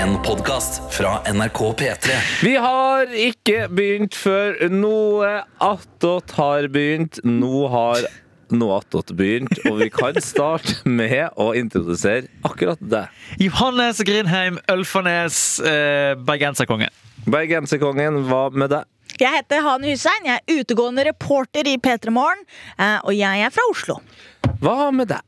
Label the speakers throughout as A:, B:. A: En podcast fra NRK P3
B: Vi har ikke begynt før noe attåt har begynt. Nå har noe attåt begynt, og vi kan starte med å introdusere akkurat deg.
C: Johannes Grindheim Ølfarnes, eh, bergenserkonge.
B: Bergenserkongen, hva med deg?
D: Jeg heter Han Hussein, jeg er utegående reporter i P3 Morgen, eh, og jeg er fra Oslo.
B: Hva med deg?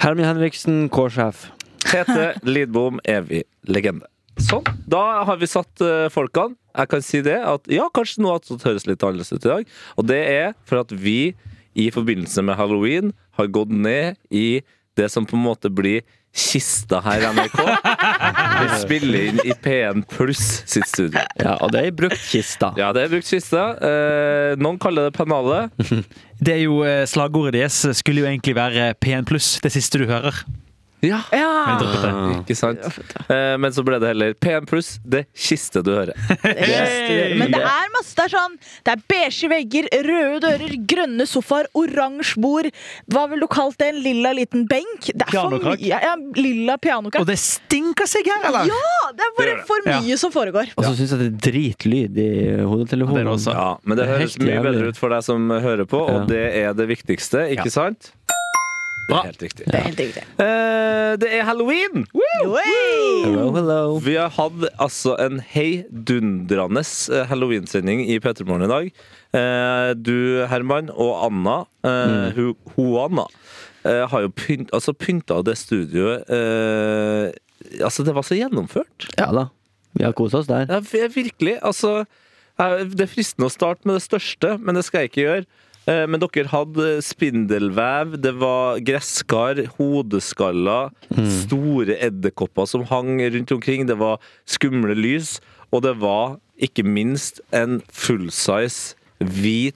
E: Hermin Henriksen, K-sjef.
B: Tete Lidbom, evig legende. Sånn. Da har vi satt eh, folkene. Jeg kan si det at ja, kanskje noe attåt høres litt annerledes ut i dag. Og det er for at vi i forbindelse med halloween har gått ned i det som på en måte blir kista her i NRK. Vi spiller inn i P1 Pluss sitt studio.
E: Ja, og det er i bruktkista.
B: Ja, det er brukt kiste. Eh, noen kaller det pennale.
C: Det er jo eh, Slagordet deres skulle jo egentlig være P1 pluss, det siste du hører.
B: Ja,
C: Men jeg
E: Ah.
C: droppet det.
B: ikke sant? Eh, men så ble det heller P1 Pluss, det kiste du hører.
C: Hey!
D: Eh, Men det er masse. Det er sånn Det er beige vegger, røde dører, grønne sofaer, oransje bord. Hva ville du kalt det? En lilla liten benk? Det er for
C: Pianokrakk.
D: mye. Ja, lilla
C: Og
D: pianokrakk.
C: det stinker seg her, eller?
D: Ja! Det er bare
B: Det gjør det.
D: for
C: Ja.
D: mye som foregår.
E: Og så syns jeg det er dritlyd i hodetelefonen.
C: Det er det også.
B: Ja, men det
E: Det er
B: høres
E: helt
B: mye
E: jævlig.
B: bedre ut for deg som hører på, og
E: Ja.
B: det er det viktigste, ikke
C: Ja.
B: sant? Det
C: Bra.
B: er helt riktig.
D: Det er helt riktig.
B: Eh, det er halloween!
D: Oi!
E: Hello, hello.
B: Vi har hatt altså en heidundrende eh, halloween-sending i P3 Morgen i dag. Eh, du, Herman, og Anna,
E: Mm.
B: eh, hu- Hoanna, eh, har jo pynt, altså pynta det studioet eh, Altså, det var så gjennomført.
E: Ja da. Vi har kosa oss der.
B: Ja, vi- virkelig. Altså, jeg- det er fristende å starte med det største, men det skal jeg ikke gjøre. Eh, Men dere hadde spindelvev, det var gresskar, hodeskaller,
E: Mm.
B: store edderkopper som hang rundt omkring, det var skumle lys, og det var ikke minst en fullsize hvit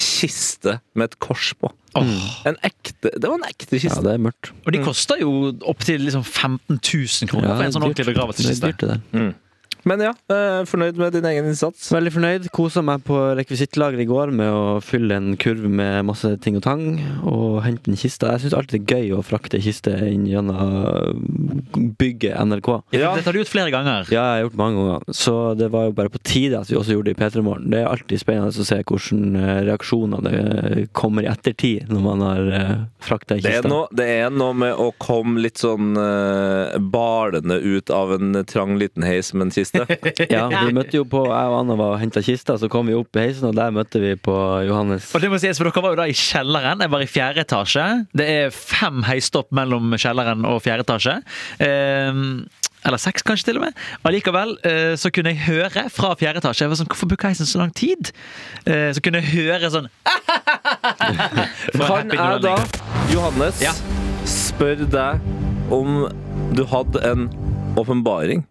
B: kiste med et kors på. En ekte, det var en ekte
E: Ja,
B: kiste.
E: det er mørkt.
C: Og de koster jo opptil liksom 15 000 kroner for en sånn ordentlig
E: det er
C: begravelseskiste.
E: dyrt, det der.
B: Men ja, eh, fornøyd med din egen innsats.
E: Veldig fornøyd. Kosa meg på rekvisittlageret i går med å fylle en kurv med masse ting og tang. Og hente en kiste. Jeg syns alltid det er gøy å frakte kiste inn gjennom bygget NRK.
B: Ja.
C: Det tar du ut flere ganger.
E: Ja, jeg har gjort det mange ganger, så det var jo bare på tide at vi også gjorde det i P3 Morgen. Det er alltid spennende å se hvordan eh, reaksjoner det eh, kommer i ettertid, når man har eh, frakta ei
B: Det er,
E: kiste.
B: noe, det er noe med å komme litt sånn eh, balende ut av en trang liten heis med en kiste.
E: Ja, vi møtte jo på Jeg og Anna var og henta kista, så kom vi opp i heisen, og der møtte vi på Johannes.
C: Og det må sies, for Dere var jo da i kjelleren. Jeg var i fjerde etasje. Det er fem heistopp mellom kjelleren og fjerde etasje. Ehm, eller seks, kanskje, til og med. Allikevel eh, så kunne jeg høre fra fjerde etasje Jeg var sånn, Hvorfor bruker heisen så lang tid? Eh, så kunne jeg høre sånn
B: Kan jeg da, Johannes,
C: Ja.
B: spørre deg om du hadde en åpenbaring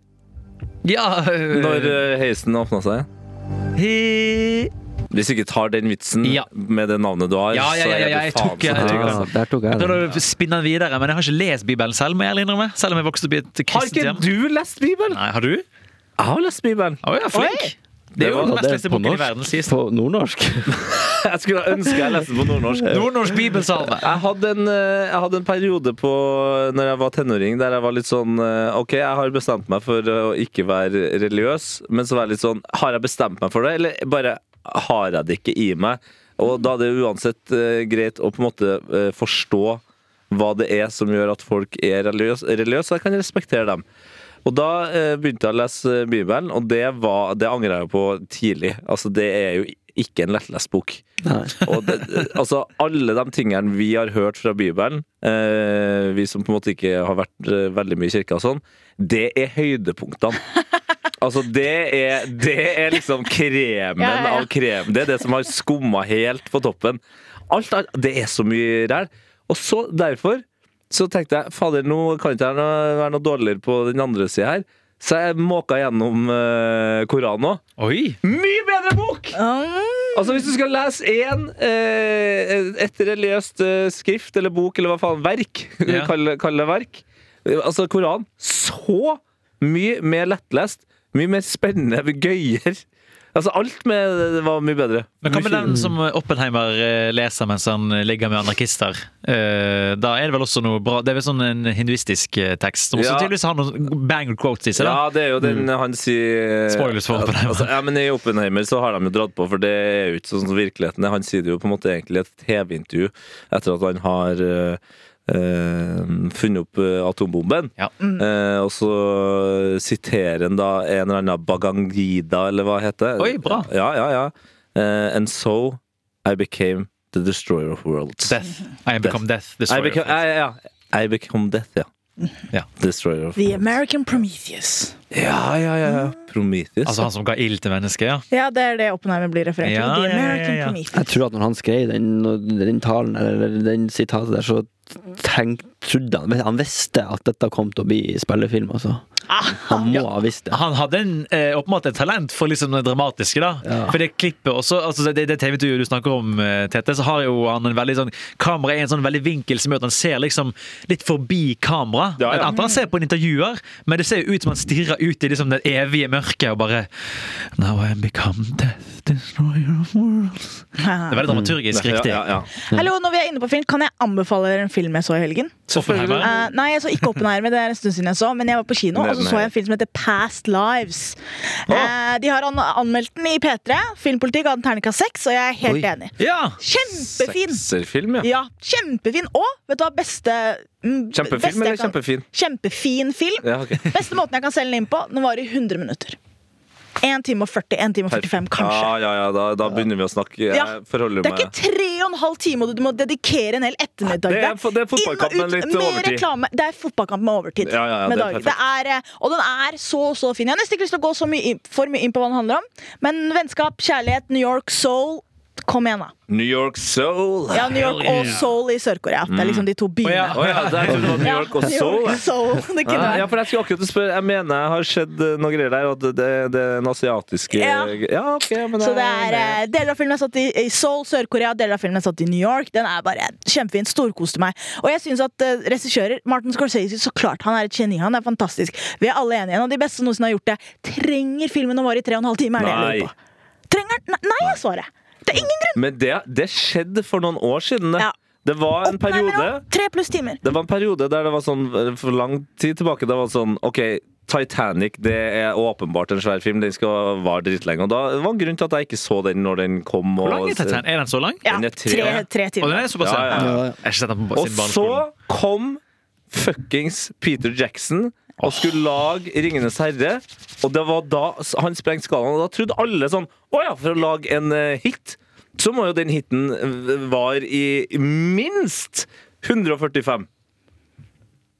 C: Ja øh,
B: når eh, heisen åpna seg? igjen?
C: he,
B: Hvis ikke tar den vitsen
C: Ja.
B: med det navnet du har,
C: Ja, ja, ja, ja,
B: så er
C: jeg
B: du faen
C: tok- eh, jeg
B: så trygg.
C: tok-
B: altså.
E: Ah, der tok jeg
C: Da
E: den.
C: spinner den videre, men jeg har ikke lest Bibelen selv. må jeg ærlig innrømme Selv om jeg vokste opp i et
B: Har
C: kristent
B: ikke
C: hjem.
B: du lest Bibelen?
C: Nei, Har du?
B: Jeg har lest Bibelen.
C: Å ja, flink! Det
B: Det
C: er jo
B: var-
C: den
E: Og
C: mest
E: det
C: leste
E: er på
C: boken i verden.
E: norsk?
C: sies det.
E: På nordnorsk?
B: Jeg skulle ønske jeg leste den på nordnorsk.
C: Nordnorsk bibelsalme.
B: Jeg hadde, en, eh, jeg hadde en periode på Når jeg var tenåring der jeg var litt sånn eh, Ok, jeg har bestemt meg for eh, å ikke være religiøs Men så var jeg litt sånn Har jeg bestemt meg for det? Eller bare har jeg det ikke i meg? Og da er det uansett eh, greit å på en måte eh, forstå Hva det er som gjør at folk er religiøs, religiøs Så jeg kan respektere dem og da eh, begynte jeg å lese eh, Bibelen, og det, var, det angrer jeg jo på tidlig. Altså, det er jo ikke en lettlest bok.
E: Nei.
B: Og det, altså, alle de tingene vi har hørt fra Bibelen, eh, vi som på en måte ikke har vært eh, veldig mye i kirka og sånn, det er høydepunktene. Altså, det er, det er liksom kremen
D: Ja, ja, ja.
B: av krem. Det er det som har skumma helt på toppen. Alt, er- det er så mye ræl. Og så derfor så tenkte jeg fader, nå kan ikke jeg noe- være noe dårligere på den andre sida her. Så jeg måka gjennom eh, Koranen òg.
C: Oi!
B: Mye bedre bok!
D: Mm.
B: Altså Hvis du skal lese én eh, et religiøst eh, skrift eller bok eller hva faen verk
C: Ja.
B: kall, kall det verk. Eh, Altså Koran. Så mye mer lettlest. Mye mer spennende, gøyere. Altså, alt med det var mye bedre.
C: Men hva med
B: Mye-
C: den som Oppenheimer eh, leser mens han ligger med anarkister? Eh, Da er det vel også noe bra Det er vel sånn en hinduistisk eh, tekst som også
B: Ja.
C: tydeligvis har noen banger quotes i seg. da Mm.
B: Ja, det er jo den han sier
C: Spoilers for Oppenheimer.
B: Altså, ja, men I Oppenheimer så har de jo dratt på, for det er jo ikke sånn som virkeligheten er. Han sier det jo på en måte egentlig i et TV-intervju etter at han har eh, eh, funnet opp eh, atombomben.
C: Ja.
D: Mm.
B: Eh, og så siterer han da en eller annen Bagangida, eller hva heter det?
C: Oi, bra.
B: Ja, ja, ja. Eh, and so I became the destroyer of worlds.
C: Death. I become death.
B: I
C: destroyer.
B: became, ja, ja, ja. I become death, ja.
D: Mm.
C: Ja.
B: Destroyer of
D: The
B: worlds.
D: American Prometheus.
B: Ja, ja, ja. ja.
D: Mm.
B: Prometheus.
C: Altså han som ga ild til mennesket, ja.
D: Ja, det er det Oppenheimer blir referert til.
C: Ja, ja,
D: The
C: ja,
D: American
C: ja.
E: Jeg
D: Prometheus.
E: tror at når han skrev den, den talen eller den sitatet der, så tenk, trodde han men Han visste at dette kom til å bli spillefilm, altså. Han må ha visst det.
C: Han hadde en, eh, åpenbart et talent for liksom det dramatiske. da
E: Ja.
C: For det klippet også, altså det, det TV-intervjuet du snakker om, eh, Tete, så har jo han en veldig sånn kamera i en sånn veldig vinkel som gjør at han ser liksom litt forbi kamera.
B: Ja, ja.
C: Jeg antar han ser på en intervjuer, men det ser jo ut som han stirrer ut i liksom det evige mørket og bare Now I am become death, destroyer of worlds. Det er veldig dramaturgisk
B: Mm.
C: riktig.
B: Ja, ja, ja.
D: Hallo, når vi er inne på film, kan jeg anbefale dere en film jeg så i helgen?
C: Oppenheimer.
D: Eh, nei, jeg så ikke Oppenheimer, det er en stund siden jeg så, men jeg var på kino,
B: Nei,
D: og så
B: nei.
D: så jeg en film som heter Past Lives. Eh, de har an anmeldt den i P3. Filmpolitikk ga den terningkast seks, og jeg er helt
E: Oi.
D: enig.
C: Ja!
D: Kjempefin!
B: Sekserfilm, ja.
D: Ja, kjempefin. Og vet du hva beste mm, beste
B: Kjempefilm
D: jeg
B: eller
D: kan-
B: kjempefin?
D: Kjempefin film.
B: Ja, ok.
D: Beste måten jeg kan selge den inn på, den varer i 100 minutter. 1 time og 40, 1 time og 45, kanskje.
B: Ja, ja, ja, da, da begynner vi å snakke. Jeg
D: Ja.
B: forholder
D: Det er
B: meg
D: ikke tre og en halv time, og du må dedikere en hel ettermiddag.
B: Det er- det er fotballkamp
D: Inn og
B: med
D: ut
B: litt overtid.
D: Reklame. Det er fotballkamp med overtid.
B: Ja, ja, ja,
D: med
B: det er
D: dager.
B: perfekt.
D: Det er, eh, og den er så så fin. Jeg har nesten ikke lyst til å gå så mye inn, for mye inn på hva den handler om, men vennskap, kjærlighet, New York, soul. Kom igjen, da.
B: New York Soul!
D: Ja, New York og Seoul i Sør-Korea. Det er liksom de to byene.
B: Å ja, der trodde du var New
D: Ja,
B: York og Soul. ja.
D: Seoul. Det kunne
B: Ja,
D: vært.
B: ja, for Jeg skulle akkurat spørre Jeg mener jeg har sett eh, noe greier der, og at det, det er den asiatiske
D: Ja.
B: Ja, ok, men
D: Så
B: jeg-
D: det er eh, Deler av filmen er satt i, i Seoul, Sør-Korea, deler av filmen er satt i New York. Den er bare kjempefin. Storkoste meg. Og jeg syns at eh, regissører Martin Scorsese, så klart han er et geni. Han er fantastisk. Vi er alle enige. En av de beste som noensinne har gjort det. Trenger filmen å vare i tre og en halv time? Er det jeg
B: Nei.
D: lurer på. Trenger den? Nei, nei, er svaret. Det er ingen grunn!
B: Men det, det skjedde for noen år siden. det.
D: Ja.
B: Det var en
D: Oppenheimer
B: periode
D: også. Tre pluss timer.
B: Det var en periode der det var sånn eh, For lang tid tilbake Det var sånn Ok, Titanic Det er åpenbart en svær film Den skal vare dritlenge Og da det var en grunn til at jeg ikke så den Når den kom
C: Hvor lang
B: og-
C: er Titanic? Er den så lang?
D: Ja,
B: Den er tre.
D: tre, tre
C: Og den
D: timer.
C: er såpass
B: Ja, ja, ja.
C: Jeg har ikke sett den på
B: Og
C: siden barneskolen.
B: så kom Fuckings Peter Jackson Og skulle lage Ringenes Herre Og det var da Han sprengte skalaen Og da trodde alle sånn Åja, for å lage en eh, hit Så må jo den hitten eh, Var i minst 145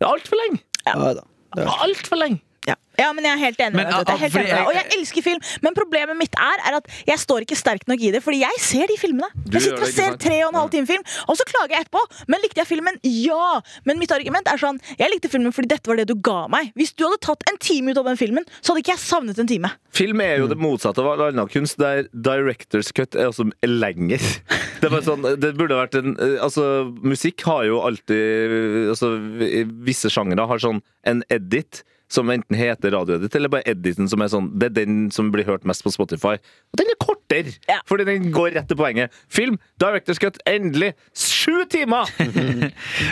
B: Det er alt for lenge
E: Ja, da.
B: Alt for lenge
D: Ja. ja, men jeg er helt enig
C: Men,
D: med deg. Det er
C: ah,
D: helt
C: fordi-
D: enig med deg. Og jeg elsker film, men problemet mitt er, er at jeg står ikke sterkt nok i det, fordi jeg ser de filmene.
B: Du gjør
D: Jeg
B: det,
D: sitter og
B: ikke
D: ser
B: sant?
D: tre og en halv time film, og så klager jeg etterpå. Men likte jeg filmen? Ja! Men mitt argument er sånn, jeg likte filmen fordi dette var det du ga meg. Hvis du hadde tatt en time ut av den filmen, så hadde ikke jeg savnet en time.
B: Film er jo det motsatte av all annen kunst, der directors cut er også lenger. Det, er bare sånn, det burde vært en eh, Altså, musikk har jo alltid eh, Altså, vi- visse sjangere har sånn en edit. Som enten heter radioedit, eller bare editen som er sånn Det er den som blir hørt mest på Spotify. Og den er kortere!
D: Ja.
B: Fordi den går rett til poenget. Film, Directors Cut, endelig! Sju timer!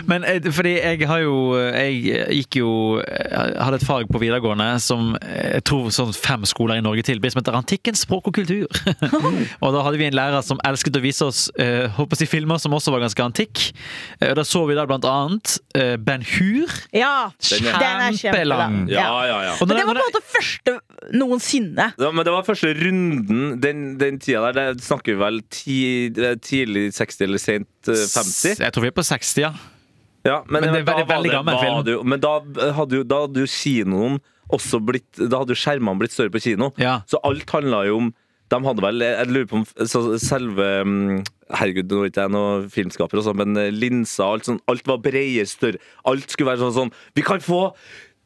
C: Men eh, fordi jeg har jo eh, Jeg gikk jo jeg hadde et fag på videregående som jeg tror sånn fem skoler i Norge tilbyr, som heter Antikken språk og kultur. og da hadde vi en lærer som elsket å vise oss eh, håper jeg, å si, filmer som også var ganske antikk. Eh, Og da så vi da blant annet eh, Ben Hur.
D: Ja,
C: Den er- Kjempelang.
D: Ja.
B: ja, ja.
C: Og
D: Men
C: når-
D: det var på
C: når-
D: en måte første noensinne.
B: Ja, men det var første runden den, den tida der. Det snakker vi vel ti, eh, tidlig 60 eller sent eh, 50?
C: Jeg tror vi er på 60, ja.
B: Ja,
C: Men det er
B: da
C: veldig-
B: var
C: veldig gammel
B: da
C: film.
B: hadde jo- Men da eh, hadde jo, da hadde jo kinoen også blitt Da hadde jo skjermene blitt større på kino.
C: Ja.
B: Så alt handla jo om De hadde vel Jeg lurer på om så selve mm, Herregud, nå er ikke jeg noen filmskaper, og sånn, men eh, linser alt sånn Alt var bredere, større. Alt skulle være sånn sånn Vi kan få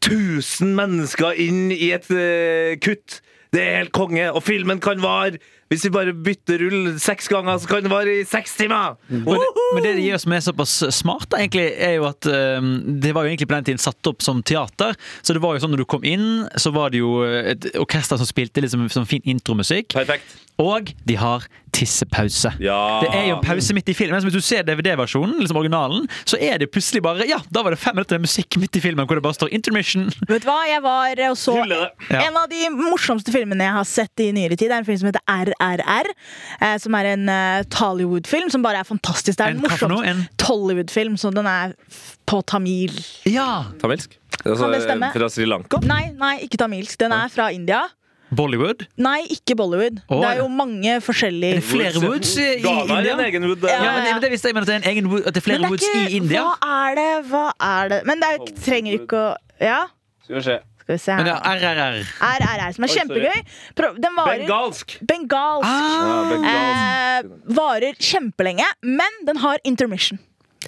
B: 1000 mennesker inn i et eh, kutt! Det er helt konge! Og filmen kan vare Hvis vi bare bytter rull seks ganger, så kan det vare i seks timer!
C: Men det, men det de gjør som er såpass smart, da, egentlig, er jo at ehm, det var jo egentlig på den tiden satt opp som teater. Så det var jo sånn når du kom inn, så var det jo et orkester som spilte liksom, sånn fin intromusikk.
B: Perfekt.
C: Og de har tissepause.
B: Ja.
C: Det er jo en pause midt i filmen. Så hvis du ser DVD-versjonen, liksom originalen, så er det plutselig bare Ja, da var det fem minutter med musikk midt i filmen hvor det bare står 'intermission'.
D: Vet du hva, jeg var og så
B: Hylle det.
C: Ja.
D: En av de morsomste filmene jeg har sett i nyere tid, er en film som heter RRR. Eh, som er en eh, Tollywood-film som bare er fantastisk. Det er
C: En
D: den
C: hva for noe?
D: morsomste
C: En-
D: Tollywood-film, så den er f- på tamil.
C: Ja!
B: Tamilsk? Altså,
D: Kan det stemme?
B: Fra Sri Lanka?
D: Nei, nei, ikke tamilsk. Den er fra India.
C: Bollywood.
D: Nei, ikke Bollywood.
C: Å,
D: det er
C: ja.
D: jo mange forskjellige
C: Flere woods i, i
B: Ghana er en
C: India.
B: egen wood.
D: Ja.
C: Ja, men det, men det visste jeg, men at det er en egen wood, at det er flere
D: Men det er
C: woods
D: ikke-
C: i India.
D: Hva er det, hva er det Men det er, trenger ikke å Ja,
B: Skal vi se.
D: skal vi se
C: Men
D: her.
C: ja, RRR.
D: RRR, som er
B: Oi, sorry.
D: kjempegøy. Prøv- Den varer
B: Bengalsk!
D: Bengalsk.
B: Ja,
C: Ah.
B: bengalsk.
D: eh, varer kjempelenge, men den har intermission.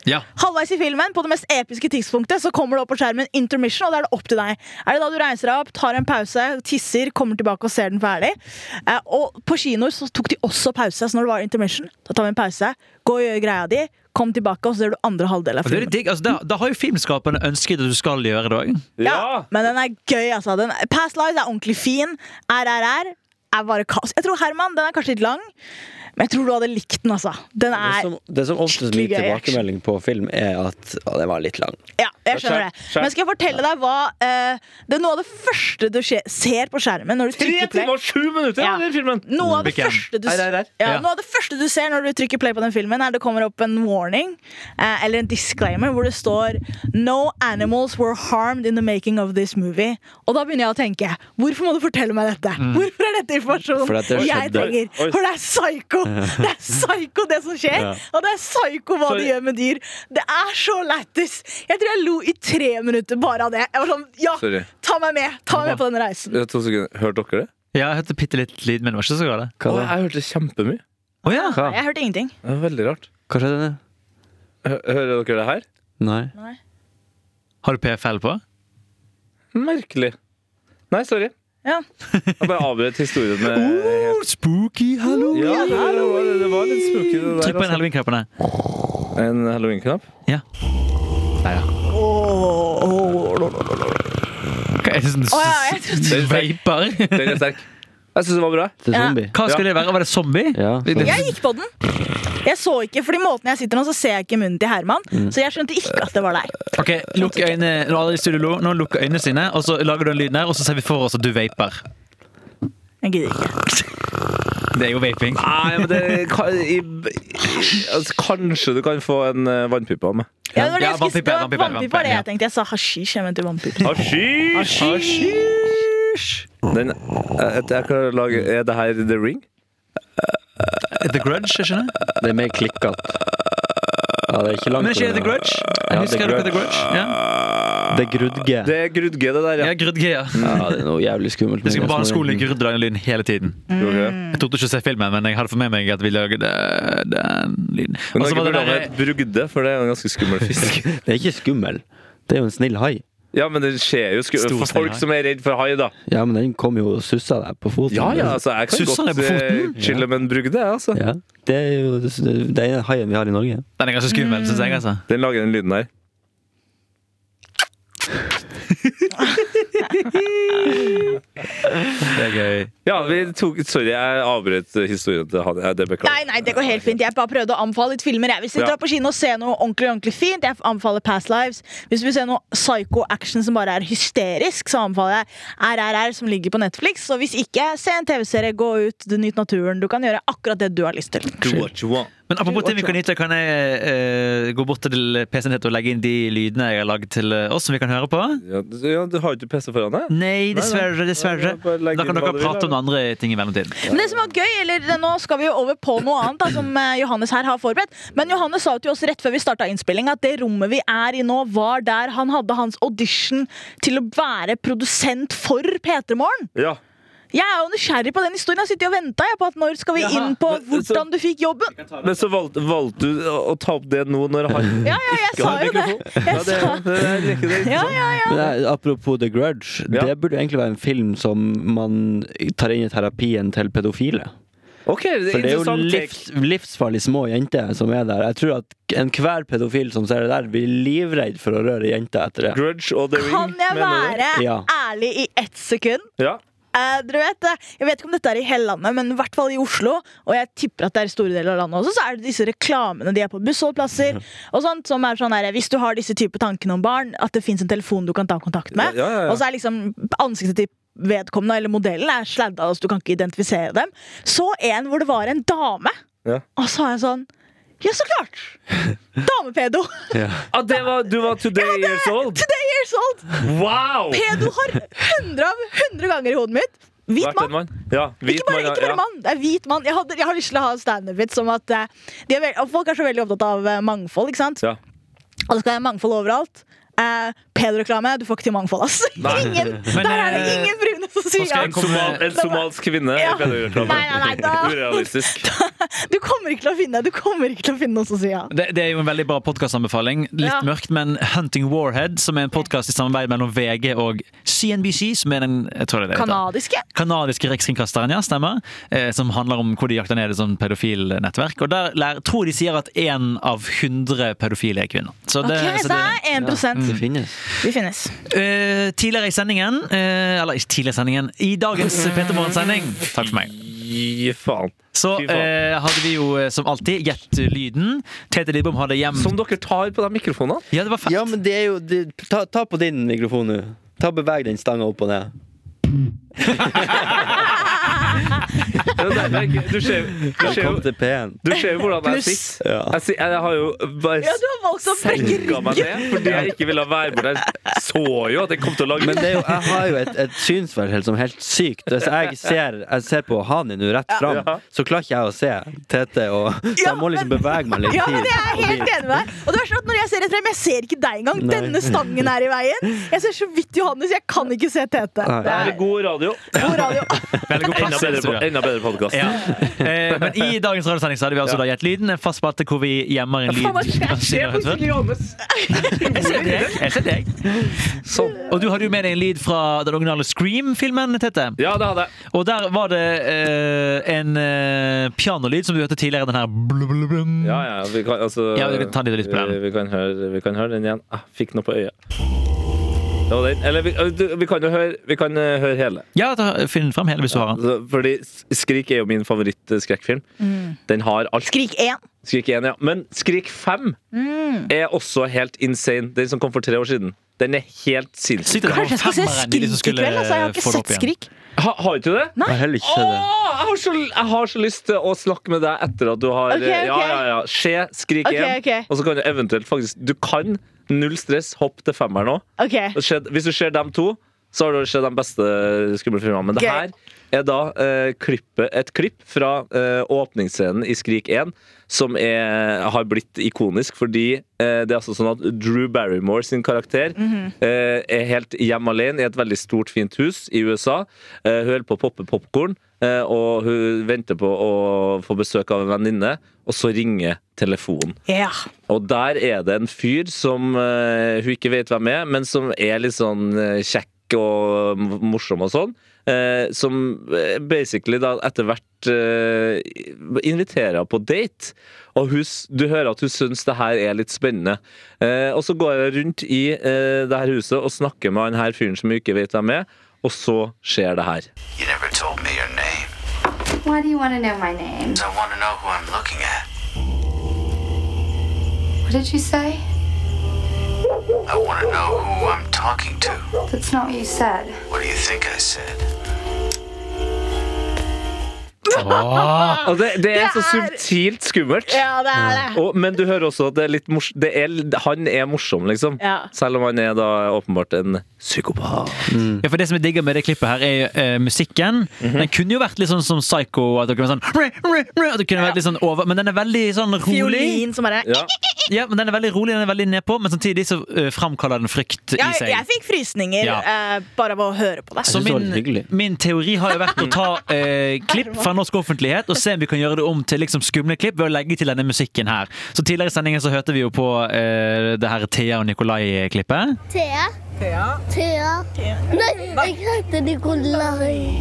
C: Ja.
D: Halvveis i filmen, på det mest episke tidspunktet, så kommer det opp på skjermen intermission, og da er det opp til deg. Er det da du reiser deg opp, tar en pause, tisser, kommer tilbake og ser den ferdig? Eh, og på kinoer så tok de også pause, så når det var intermission, da tar vi en pause, gå og gjør greia di, kom tilbake, og så ser du andre halvdel
C: Og Det
D: av
C: er
D: filmen.
C: litt digg. Altså, da, da har jo filmskaperne ønsket at du skal gjøre det òg.
B: Ja!
D: Men den er gøy, altså. Den, Past Lives er ordentlig fin. RRR er bare kaos. Jeg tror Herman, den er kanskje litt lang, men jeg tror du hadde likt den, altså. Den
E: Det
D: er
E: som, det som oftest
D: skikkelig
E: min
D: gøy action.
E: tilbakemelding på film, er at ja, det var litt lang.
D: Ja, jeg skjønner det.
B: Skjerm, skjerm.
D: Men skal jeg fortelle deg hva eh, Det er noe av det første du skje- ser på skjermen når du
B: Tre
D: trykker
B: timer
D: play.
B: og sju minutter! Ja.
D: Ja.
B: den filmen
D: Noe
E: Mm,
D: av, det
C: Hvilken?
D: første du,
B: RRR?
D: ja,
C: Ja.
D: noe av det første du ser når du trykker play på den filmen, er det kommer opp en warning eh, eller en disclaimer hvor det står No animals were harmed in the making of this movie. Og da begynner jeg å tenke Hvorfor må du fortelle meg dette? Hvorfor er dette
E: Mm. For
D: informasjon
E: at det
D: jeg
E: skjedde.
D: trenger?
B: Oi.
D: For det er psyko! Det er psyko det som skjer,
E: Ja.
D: og det er psyko hva
B: Sorry.
D: de gjør med dyr. Det er så lættis! Jeg tror jeg lo i tre minutter bare av det. Jeg var sånn, ja,
B: Sorry.
D: ta meg med! Ta meg med på denne reisen.
B: Ja, Eh, To sekunder. Hørte dere det?
C: Ja, jeg hørte bitte litt lyd, men det var ikke så galt.
E: Hva,
B: Å,
E: da?
B: jeg hørte kjempemye.
C: Å ja.
E: Hva?
D: Jeg hørte ingenting.
B: Det var veldig rart.
E: Hva skjedde nå?
B: Hø- Hører dere det her?
E: Nei.
C: Har du PFL på?
B: Merkelig. Nei, sorry.
D: Ja.
B: Jeg bare avbrøt historien med helt-
C: spooky halloween!
B: Ja, det var, det var litt spooky, det der.
C: Trykk på en
B: altså.
C: halloween-knappene.
B: En halloween-knapp?
C: Ja. Der, ja. Hva er det som
D: Å, ja, jeg
C: du veiper?
B: Den er sterk. Jeg syns det var bra.
E: Det er
D: Ja.
E: zombie.
C: Hva skulle det være? Var det zombie?
E: Ja.
C: Det-
D: Jeg gikk på den. Jeg så ikke, fordi måten jeg sitter nå, så ser jeg ikke munnen til Herman. Så jeg skjønte ikke at det var deg.
C: Ok, lukk øynene Nå er alle i studio lo. Nå lukker øynene sine, og så lager du en lyd der, og så ser vi for oss at du vaper.
D: Jeg gidder ikke.
C: Det er jo vaping.
B: Nei, men det kan, i, i, altså, Kanskje du kan få en eh, vannpipe av meg.
D: Ja, det var det
C: Ja,
D: jeg skulle-
C: vannpipe,
D: det var
C: vannpipe,
D: vannpipe var det
C: vannpipe,
D: jeg tenkte. Jeg sa hasjisj. Jeg mente vannpipe.
B: Hasjisj!
C: Ah,
B: Den, jeg, jeg klarer å lage Er det her The Ring?
C: The Grudge, er ikke det?
E: Det er mer klikkete. Ja, det er ikke langt
C: Men er ikke det The
E: unna.
C: Grudge?
E: Ja,
C: Jeg husker dere
E: The Grudge.
C: The Grudge? Ja,
E: Det er grudge.
B: Det er grudge, det der,
C: ja
B: ja.
C: Grudge, ja.
E: Ja, det er noe jævlig skummelt.
C: Jeg husker
E: med
C: på barneskolen
E: Mm, det.
C: grudde den lyden hele tiden.
B: Gjorde det.
D: Mm.
C: Jeg torde ikke å se filmen, men jeg hadde fått med meg at vi lagde den lyden.
B: Men
C: Og så
B: Norge
C: var
B: burde
C: det
B: ha
C: der,
B: et brugde, for det er jo en ganske skummel fisk.
E: Det er ikke skummel. Det er jo en snill hai.
B: Ja, men det skjer jo sku
C: Stor
B: For
C: stein
B: folk
C: her.
B: som er redd for hai, da.
E: Ja, men den kom jo og sussa deg på foten.
B: Ja, ja, altså, jeg kan
C: Sussa
B: godt
C: deg på
B: eh,
C: foten.
B: chille med en brugde, jeg, altså.
E: Ja. Det er jo det det er den haien vi har i Norge.
C: den er ganske skummel, synes jeg. altså.
B: Den lager den lyden her.
C: Det er gøy.
B: Ja, vi tok Sorry, jeg avbrøt historien til han. Ja, det beklager
D: Nei, nei, det går helt fint. Jeg bare prøvde å anbefale litt filmer. Jeg. Hvis du
B: Ja.
D: drar på kino og ser noe ordentlig ordentlig fint, jeg anbefaler Past Lives. Hvis du vil se noe psycho-action som bare er hysterisk, så anbefaler jeg RRR, som ligger på Netflix. Og hvis ikke, se en TV-serie, gå ut, du nyter naturen. Du kan gjøre akkurat det du har lyst til.
B: Do what you want.
C: Men apropos ting vi kan nyte, kan jeg eh, gå bort til PC-en ditt og legge inn de lydene jeg har lagd til eh, oss, som vi kan høre på?
B: Ja, du, ja, du har jo ikke PC foran deg?
C: Nei, dessverre. dessverre.
B: Bare legg
C: Da
B: inn
C: kan
B: hva
C: dere
B: du vil,
C: prate om andre ting i mellomtiden.
D: Men det som var gøy, eller det- nå skal vi jo over på noe annet da, som eh, Johannes her har forberedt. Men Johannes sa jo til oss rett før vi starta innspilling at det rommet vi er i nå, var der han hadde hans audition til å være produsent for P3 Morgen.
B: Ja.
D: Jeg er jo nysgjerrig på den historien. Jeg sitter jo og venter på at når skal vi
B: Jaha,
D: inn på
B: men- så-
D: hvordan du fikk jobben.
B: Men så valgte, valgte du å å ta opp det nå når han
D: Ja, ja, jeg
B: ikke
D: sa
B: har
D: jo det.
B: mikrofon? Ja, det, det, er ikke det.
D: Ja, ja, ja.
E: Men det, er- apropos The Grudge,
B: Ja.
E: det burde jo egentlig være en film som man tar inn i terapien til pedofile.
B: Ok, det
E: For
B: er
E: det er jo
B: interessant
E: livs, livsfarlig små jenter som er der. Jeg tror at enhver pedofil som ser det der, blir livredd for å røre jenter etter det.
B: Grudge og The Ring.
D: Kan jeg
B: mener du?
D: være
E: Ja.
D: ærlig i ett sekund?
B: Ja.
D: Eh, dere vet, det. jeg vet ikke om dette er i hele landet, men i hvert fall i Oslo. Og jeg tipper at det er i store deler av landet også. Så er det disse reklamene de er på bussholdplasser. Og sånt, som er sånn der, Hvis du har disse type tankene om barn, at det fins en telefon du kan ta kontakt med.
B: Ja, ja, ja.
D: Og så er liksom ansiktet til vedkommende eller modellen er sladda, så du kan ikke identifisere dem. Så en hvor det var en dame.
B: Ja.
D: Og så har jeg sånn Ja, så klart! Damepedo!
B: Ah, det var, du var today years old?
D: Today years old!
B: Wow!
D: Pedo har 100 av 100 ganger i hodet mitt. Hvit
B: Vært en
D: mann.
B: mann? Ja, hvit
D: Ikke bare,
B: mann,
D: ikke bare
B: ja.
D: mann, det er hvit mann. Jeg, hadde, jeg har lyst til å ha standup-vits om at eh, de er veld, og Folk er så veldig opptatt av eh, mangfold, ikke sant?
B: Ja.
D: Og det skal være mangfold overalt. Eh, Pedoreklame, du får ikke til mangfold, ass.
B: Nei.
D: ingen,
C: Men,
D: der er det
C: eh,
D: ingen brune som sier
C: skal
D: ja.
B: En, somal, en somalsk kvinne i
D: Ja.
B: pedagogreklame.
D: Nei, nei, nei, da.
B: Urealistisk.
D: Du kommer ikke til å finne Du kommer ikke til å finne noen som sier ja.
C: Det, det er jo en veldig bra podkastanbefaling. Litt
D: Ja.
C: mørkt, men Hunting Warhead, som er en podkast i samarbeid mellom VG og CNBC, som er den jeg tror det er det heter.
D: Kanadiske?
C: kanadiske rikskringkasteren, ja, stemmer. Eh, som handler om hvor de jakter ned et sånt pedofilnettverk. Og der lær, tror de sier at én av 100 pedofile er kvinner. Så
D: Ok,
C: det, så
D: så det
C: altså, det,
D: er 1
E: Det Mm. finnes.
D: Vi finnes.
C: Eh, tidligere i sendingen eh, Eller ikke tidligere i sendingen, i dagens Peter Morgen-sending Takk for meg.
B: Gi faen.
C: Så
B: Fy faen.
C: eh, hadde vi jo eh, som alltid gjett lyden. Tete Lidbom hadde gjemt
B: Som dere tar på de mikrofonene.
C: Ja, det var fett.
E: Ja, men det er jo det, ta, ta på din mikrofon nå. Ta Beveg den stanga opp og ned.
B: Det er derfor jeg ikke- Du ser du ser jo
E: Velkommen til P1.
B: du ser jo hvordan jeg
D: Pluss.
B: sitter.
E: Ja.
B: Jeg, sitter- jeg har jo bare
D: Ja, du har valgt å brekke
B: senka meg ned fordi jeg ikke ville være borte. Jeg så jo at jeg kom til å lage
E: Men det er jo, jeg har jo et, et synsfelt helt- som er helt sykt. Hvis jeg ser, jeg ser på Hani nå rett fram,
B: Ja.
E: så klarer ikke jeg å se Tete. Og, så
D: Ja,
E: jeg må liksom
D: men-
E: bevege meg litt.
D: Ja, men
E: hit
D: jeg er
E: og
D: helt
E: dit.
D: enig med deg. Og det verste er sånn at når jeg ser rett frem, jeg ser ikke deg engang.
E: Nei.
D: Denne stangen er i veien. Jeg ser så vidt Johannes, jeg kan ikke se Tete.
E: Nei.
D: Det
B: Det er
D: er
B: god radio.
D: god radio.
C: Veldig god
B: Enda
C: plass i det
B: bedre,
C: studioet.
B: enda bedre podcast.
C: Ja. Eh, men i dagens radiosending så hadde vi altså da gjett lyden. En fast spalte hvor vi gjemmer en lyd.
D: Faen, hva skjer?
C: Jeg ser deg. Jeg ser deg. Sånn. Og du hadde jo med deg en lyd fra den originale Scream-filmen, Tete.
B: Ja, det hadde jeg.
C: Og der var det eh, en eh, pianolyd som du hørte tidligere. Den her blubblubblum.
B: Ja, ja, vi kan, altså,
C: Ja, vi kan ta litt lytt på den.
B: Vi, vi, kan høre, vi kan høre den igjen. Ah, fikk noe på øyet. Det var den. Eller vi, du, vi kan jo høre, vi kan, eh, høre hele.
C: Ja, da, finn fram hele hvis du har den.
B: Altså, Fordi Skrik er jo min favorittskrekkfilm. Den har alt.
D: Skrik 1.
B: Skrik 1, ja. Men Skrik 5 er også helt insane. Den som kom for tre år siden. Den er helt sinnssyk.
C: Sykt at det var
D: Kanskje jeg skal se
C: femmeren de som
D: Skrik i
C: skulle
D: kveld. Altså, jeg har
C: få
D: ikke
C: det opp
D: sett
C: igjen.
D: Skrik.
B: Ha, har ikke du det?
E: Jeg har heller ikke
B: Åh,
E: sett det.
B: jeg, har så, jeg har så lyst til å snakke med deg etter at du har
D: Ok, ok.
B: Ja, ja, ja. Skje, skrik
D: Ok,
B: igjen.
D: ok.
B: Og så kan du eventuelt faktisk Du kan, null stress, hopp til femmeren òg.
D: Ok,
B: Hvis du ser dem to, så har du sett de beste skumle filmene. Men det
D: Gøy.
B: her er da eh, klippet, et klipp fra eh, åpningsscenen i Skrik 1 som er, har blitt ikonisk, fordi eh, det er altså sånn at Drew Barrymore sin karakter eh, er helt hjemme alene i et veldig stort, fint hus i USA. Eh, hun holder på å poppe popkorn, eh, og hun venter på å få besøk av en venninne, og så ringer telefonen.
D: ja.
B: Og der er det en fyr som eh, hun ikke vet hvem er, men som er litt sånn eh, kjekk og m- morsom og sånn. eh, som eh, basically da etter hvert eh, inviterer henne på date. Og hun, s- du hører at hun syns det her er litt spennende. Eh, og så går hun rundt i eh, det her huset og snakker med han her fyren som hun ikke vet hvem er, og så skjer det her.
F: You never told me your name.
G: Why do you want to know my name?
F: I want to know who I'm looking at.
G: What did you say?
F: I want to know who I'm talking to.
G: That's not what you said.
F: What do you think I said?
B: Og det, det er så
D: Ah, Det er-
B: subtilt skummelt.
D: ja, det er det.
B: Og, men du hører også at det er litt mors det er, han er morsom, liksom.
D: Ja.
B: Selv om han er da åpenbart en psykopat.
C: Ja, for Det som jeg digger med det klippet, her er eh, musikken. Den kunne jo vært litt sånn som Psycho. At det kunne vært sånn, "Rø, rø, rø", at det kunne vært litt sånn over, Men den er veldig sånn rolig.
D: Fiolin som bare
B: Ja.
C: Ja, men Den er veldig rolig, den er veldig nedpå, men samtidig så eh, framkaller den frykt
D: ja,
C: i seg.
D: Jeg fikk frysninger
C: Ja.
D: eh, bare av å høre på det.
C: Så
E: synes det var litt
C: min,
E: hyggelig.
C: min teori har jo vært å ta eh, klipp fra norsk offentlighet og se om vi kan gjøre det om til liksom skumle klipp ved å legge til denne musikken her. Så Tidligere i sendingen så hørte vi jo på eh, det her Thea og Nikolai-klippet.
H: Thea. Thea. Thea. Nei, jeg heter Nikolai.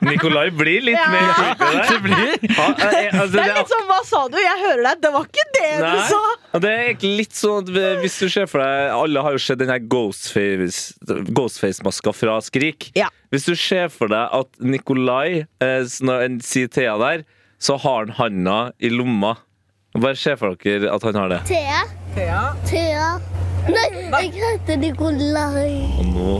B: Nikolai blir litt
D: Ja.
B: mer creepy der. Ja, eh, altså,
D: Det er litt sånn, hva sa du? Jeg hører deg. Det var ikke det du sa!
B: Nei, det er egentlig litt sånn at vi- Hvis du ser for deg Alle har jo sett den her Ghostface- Ghostface-maska fra Skrik.
D: Ja.
B: Hvis du ser for deg at Nikolai eh, s- når en sier Thea der, så har han handa i lomma. Bare se for dere at han har det.
H: Thea. Thea. Nei, jeg heter Nikolai.
B: Og nå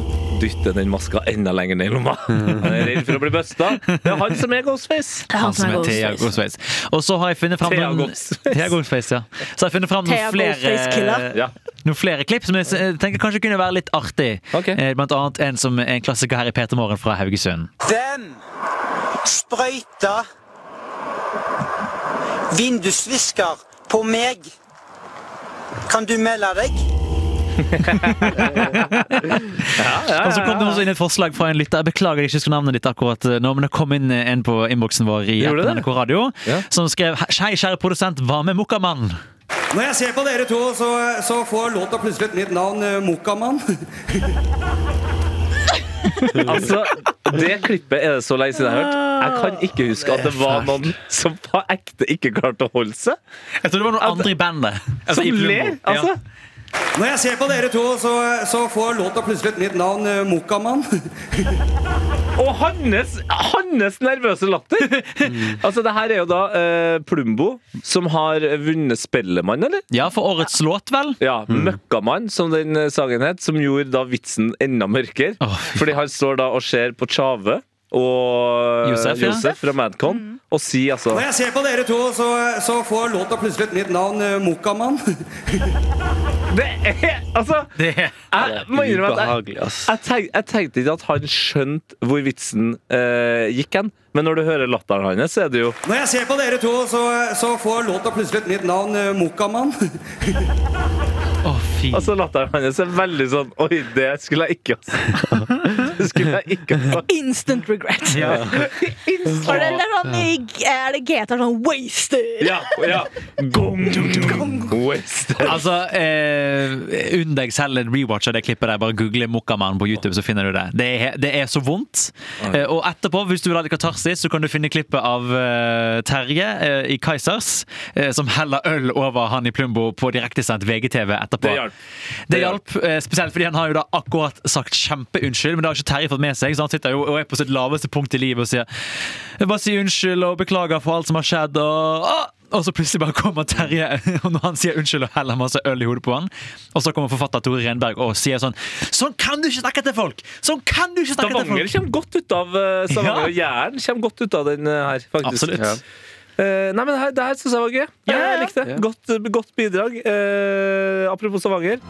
B: dytter den maska enda lenger ned i lomma. Han er redd for å bli busta. Det er han som er Ghostface.
D: Det er
C: Han som er Thea Ghostface. Og så har jeg funnet fram
B: Thea
C: noen-
B: Ghostface.
C: Thea Ghostface, ja. Så har jeg funnet fram
D: Thea
C: noen flere,
D: Ghostface-killer.
B: Ja.
C: noen flere klipp som jeg s- eh, tenker kanskje kunne være litt artig.
B: Ok.
C: Eh, Blant annet en som er en klassiker her i Peter Morgen fra Haugesund.
I: Den sprøyta vindusvisker på meg. Kan du melde deg?
C: Og så kom det også inn et forslag fra en lytter. Jeg beklager jeg ikke husker navnet ditt akkurat nå, men det kom inn eh, en på innboksen vår i
B: Gjorde
C: appen
B: det?
C: NRK Radio
B: Ja.
C: som skrev Hei, kjære produsent, hva med Mokkamann?
J: Når jeg ser på dere to, så, så får låta plutselig et nytt navn, eh, Mokkamann.
B: Altså, det klippet er det så lenge siden jeg har hørt. Jeg kan ikke huske at Ah. det var noen som på ekte ikke klarte å holde seg.
C: Jeg tror det var noen andre i bandet. Altså, i
B: Som
C: Plumbo.
B: ler, altså.
C: Ja.
J: Når jeg ser på dere to, så, så får låta plutselig et nytt navn, eh, Mokkamann.
B: Og hans, hans nervøse latter! Altså, det her er jo da eh, Plumbo, som har vunnet Spellemann, eller?
C: ja, for årets låt, vel?
B: Ja, Møkkamann, som den eh, sangen het, som gjorde da vitsen enda mørkere.
C: Å, fy
B: fordi han står da og ser på Tjave og eh,
C: Josef,
B: Josef,
C: ja.
B: fra Madcon og sier altså
J: Når jeg ser på dere to, så, så får låta plutselig et nytt navn, eh, Mokkamann.
B: Det er Altså!
C: Det
B: Jeg må innrømme at jeg,
E: Ubehagelig, ass.
B: Jeg, tenk, jeg tenkte ikke at han skjønte hvor vitsen eh, gikk hen, men når du hører latteren hans, så er det jo
J: Når jeg ser på dere to, så, så får låta plutselig et nytt navn, eh, Mokkamann.
C: Å, fy.
B: Altså Latteren hans er veldig sånn Oi, det skulle jeg ikke ha sagt. Det skulle jeg ikke ha sagt.
D: Instant regret. Og det, det er, sånn, i- er det GT er sånn wasted?
B: Ja, ja. Gong, Wasted.
C: Altså, eh, unn deg selv en rewatch av det klippet der. Bare google Mokkamann på YouTube, så finner du det. Det er, det er så vondt. Eh, og etterpå, hvis du vil ha litt katarsis, så kan du finne klippet av eh, Terje eh, i Kaizers, eh, som heller øl over han i Plumbo på direktesendt VGTV etterpå.
B: Det hjalp.
C: Det hjalp, eh, spesielt fordi han har jo da akkurat sagt kjempeunnskyld, men det har ikke Terje fått med seg, så han sitter jo og er på sitt laveste punkt i livet og sier Jeg bare sier unnskyld og beklager for alt som har skjedd, og ah! Og så plutselig bare kommer Terje, og når han sier unnskyld og heller masse øl i hodet på han, og så kommer forfatter Tore Renberg og sier sånn Sånn kan du ikke snakke til folk! Sånn kan du ikke snakke til
B: Stavanger
C: folk!
B: kommer godt ut av eh, Stavanger og Jæren kommer godt ut av den eh, her, faktisk.
C: Absolutt.
B: Ja. Eh, nei, men det her, det her syns jeg var gøy. Jeg likte det. Godt, godt bidrag. Eh, apropos Stavanger.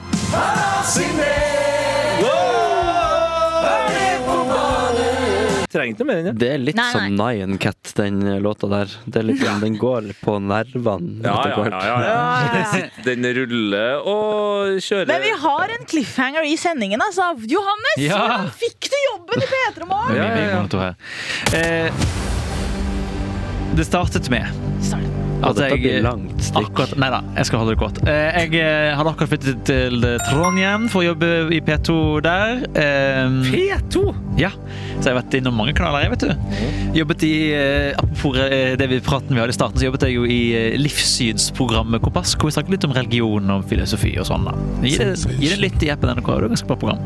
B: Wow! Trengte mer enn det.
E: Det er litt
D: Nei, nei.
E: som Nyan Cat, den låta der. Det er liksom, den går på nervene.
B: Ja,
E: etter
B: ja,
E: hvert.
B: ja, ja, ja. Den ruller og kjører.
D: Men vi har en cliffhanger i sendingen, altså. Johannes,
C: Ja.
D: hvordan fikk du jobben i P3 Morgen?
B: Ja,
C: Mye, mye
B: ja, ja.
C: moro her. Eh, det startet med
E: Og
C: at Altså,
E: dette
C: jeg-
E: blir langt stikk.
C: Akkurat, nei da, jeg skal holde det kort. Eh, Jeg eh, hadde akkurat flyttet til eh, Trondheim for å jobbe i P2 der. Eh,
B: P2!
C: Ja, Så jeg har vært innom mange kanaler, jeg, vet du. Jobbet i, eh, Apropos eh, det vi praten vi hadde i starten, så jobbet jeg jo i eh, livssynsprogrammet Kompass, hvor vi snakket litt om religion og filosofi og sånn. da. Gi det, gi det litt i appen NRK, det er et ganske bra program.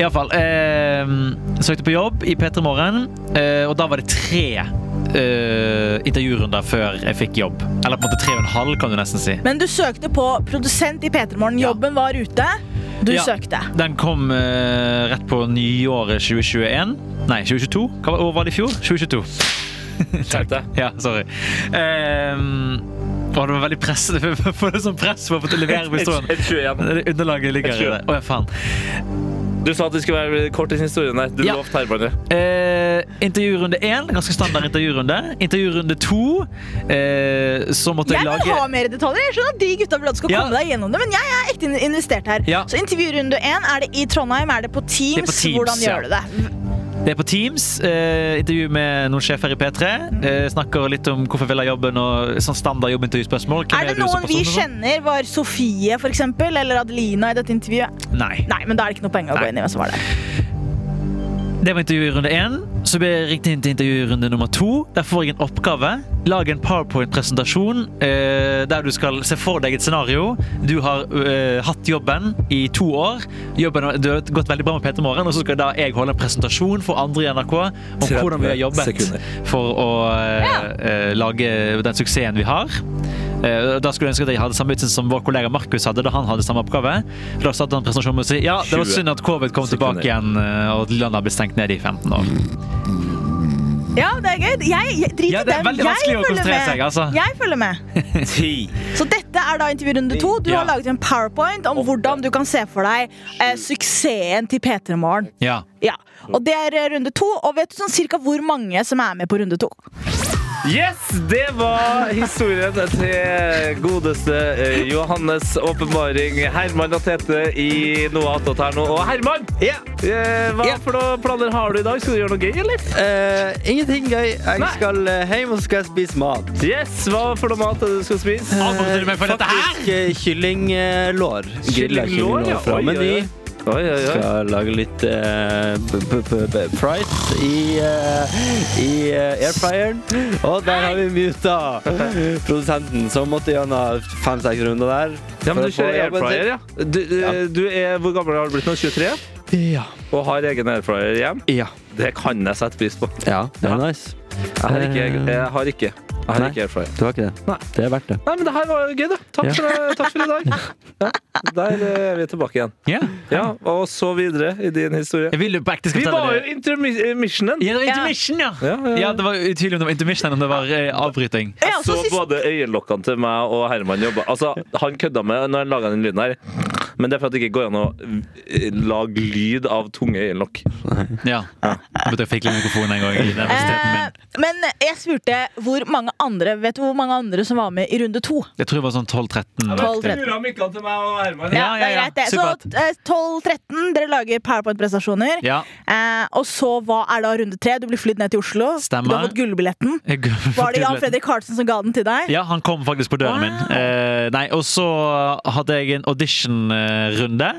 C: Iallfall. Eh, søkte på jobb i P3 Morgen, eh, og da var det tre eh, intervjurunder før jeg fikk jobb. Eller på en måte tre og en halv, kan du nesten si.
D: Men du søkte på produsent i P3 Morgen.
C: Ja.
D: Jobben var ute. Du
C: Ja.
D: søkte.
C: Den kom eh, rett på nyåret 2021. Nei, 2022. Hva var, var det i fjor? 2022.
B: Takk.
C: Ja, sorry. Ehm, å, det var veldig press. Får det sånn press for å få til å levere
B: Et-
C: historien.
B: et 21.
C: Det Underlaget ligger i det. Å ja, faen.
B: Du sa at det skulle være kort i historien der. Du
C: Ja.
B: lovte herværende.
C: Eh, intervjurunde én, ganske standard intervjurunde. Intervjurunde to, eh, så måtte jeg,
D: Jeg vil
C: lage
D: ha mer detaljer. Jeg skjønner at de gutta vil at du skal
C: Ja.
D: komme deg gjennom det, men jeg er ekte investert her.
C: Ja.
D: Så intervjurunde én, er det i Trondheim? Er det på Teams?
C: Det er på Teams,
D: hvordan
C: ja.
D: gjør du det?
C: Det er på Teams. Eh, intervju med noen sjefer i P3.
D: Mm.
C: Eh, snakker litt om hvorfor jeg vil ha jobben og sånn standard jobbintervjuspørsmål. Hvem
D: Er det
C: du som
D: noen
C: person
D: vi
C: og sånn?
D: kjenner? Var Sofie for eksempel, eller Adelina i dette intervjuet?
C: Nei.
D: Nei, men da er det ikke noe poeng å
C: Nei.
D: gå inn i hvem som var der.
C: Det var intervju i runde én. Så ble jeg ringt inn til intervjurunde nummer to. Der får jeg en oppgave. Lag en powerpoint-presentasjon eh, der du skal se for deg et scenario. Du har eh, hatt jobben i to år. Jobben har det har gått veldig bra med Peter Morgen, og så skal da jeg holde en presentasjon for andre i NRK om
B: 30
C: hvordan vi har jobbet
B: sekunder.
C: for å eh, eh, lage den suksessen vi har. Eh, Da skulle jeg ønske at jeg hadde samme utsyn som vår kollega Markus hadde da han hadde samme oppgave. For da satt han presentasjonen med å si ja, det var
B: 20
C: synd at covid kom
B: sekunder.
C: tilbake igjen, eh, og at landet har blitt stengt ned i 15 år.
D: Ja, det er gøy. Jeg, jeg drit
C: Ja,
D: i
C: det er
D: dem.
C: veldig
D: Jeg
C: vanskelig å
D: følger
C: konsentrere
D: med.
C: seg, altså.
D: Jeg følger med. Så dette er da intervjurunde to. Du
C: Ja.
D: har laget en powerpoint om hvordan du kan se for deg eh, suksessen til P3 Morgen.
C: Ja.
D: Ja. Og det er eh, runde to. Og vet du sånn cirka hvor mange som er med på runde to?
B: Yes! Det var historien til godeste eh, Johannes' åpenbaring. Herman og Tete i noe attåt her nå. Og Herman! eh, Hva
E: Ja.
B: for noen planer har du i dag? Skal du gjøre noe gøy, eller?
E: Eh, ingenting gøy. Jeg
B: Nei.
E: skal eh, hjem og så skal jeg spise mat.
B: Yes, Hva for noe mat er det du skal spise?
C: Avbryter du meg for dette her?
E: Faktisk eh, kyllinglår. Grilla
B: Kyllinglår, ja.
E: kyllinglår fra
B: Oi,
E: Meny.
B: oi, Oi, oi, oi.
E: Skal lage litt eh, b- b- b- b- fries i, eh, i eh, airfryeren. Og der har vi muta produsenten, som måtte gjennom fem-seks runder der.
B: Ja, men du
E: for å få
B: kjører
E: jobben
B: airfryer,
E: til.
B: ja. Du, eh, du er, hvor gammel har du blitt nå? 23?
E: Ja.
B: Og har egen airfryer hjem?
E: Ja.
B: Det kan jeg sette pris på.
E: ja. Det
B: Ja.
E: er nice.
B: Jeg har ikke, jeg har ikke, jeg har
E: Eh. Nei.
B: ikke airfryer.
E: Du har ikke det?
B: Nei.
E: Det er verdt det.
B: Nei, men det her var jo gøy, da. Takk,
E: Ja.
B: for, takk for i dag. Ja, der eh, er vi tilbake igjen.
C: Ja.
B: Ja, Og så videre i din historie.
C: Jeg vil jo på ekte skal
B: Vi
C: fortelle
B: var jo eh,
C: det.
B: intermissionen.
C: Ja, det var
D: Ja.
C: intermission, ja.
B: Ja, ja, ja.
C: Ja, det var utvilsomt om det var intermission eller om det var eh, avbryting.
D: Ja,
B: Jeg så
D: så sist,
B: både øyelokkene til meg og Herman jobba. Altså, han kødda med når han laga den lyden her, men det er for at det ikke går an å eh, lage lyd av tunge øyelokk.
C: Ja. Jeg vet jeg fikk litt mikrofon en gang i nervøsiteten
D: eh,
C: min.
D: men jeg spurte hvor mange andre Vet du hvor mange andre som var med i runde to?
C: Jeg tror det var sånn 12-13.
D: 12, 13.
B: mikkene til meg og Herman.
C: Ja, ja,
D: det er
C: ja.
D: greit, det.
C: Supert.
D: Så eh, 12-13, dere lager powerpoint-prestasjoner.
C: Ja.
D: Eh, og så hva er da runde tre? Du blir flydd ned til Oslo.
C: Stemmer.
D: Du har fått gullbilletten.
C: Jeg går for
D: Var det Jan
C: tidlig.
D: Fredrik Karlsen som ga den til deg?
C: Ja, han kom faktisk på døren min.
D: Wow.
C: Eh, nei, og så hadde jeg en audition-runde.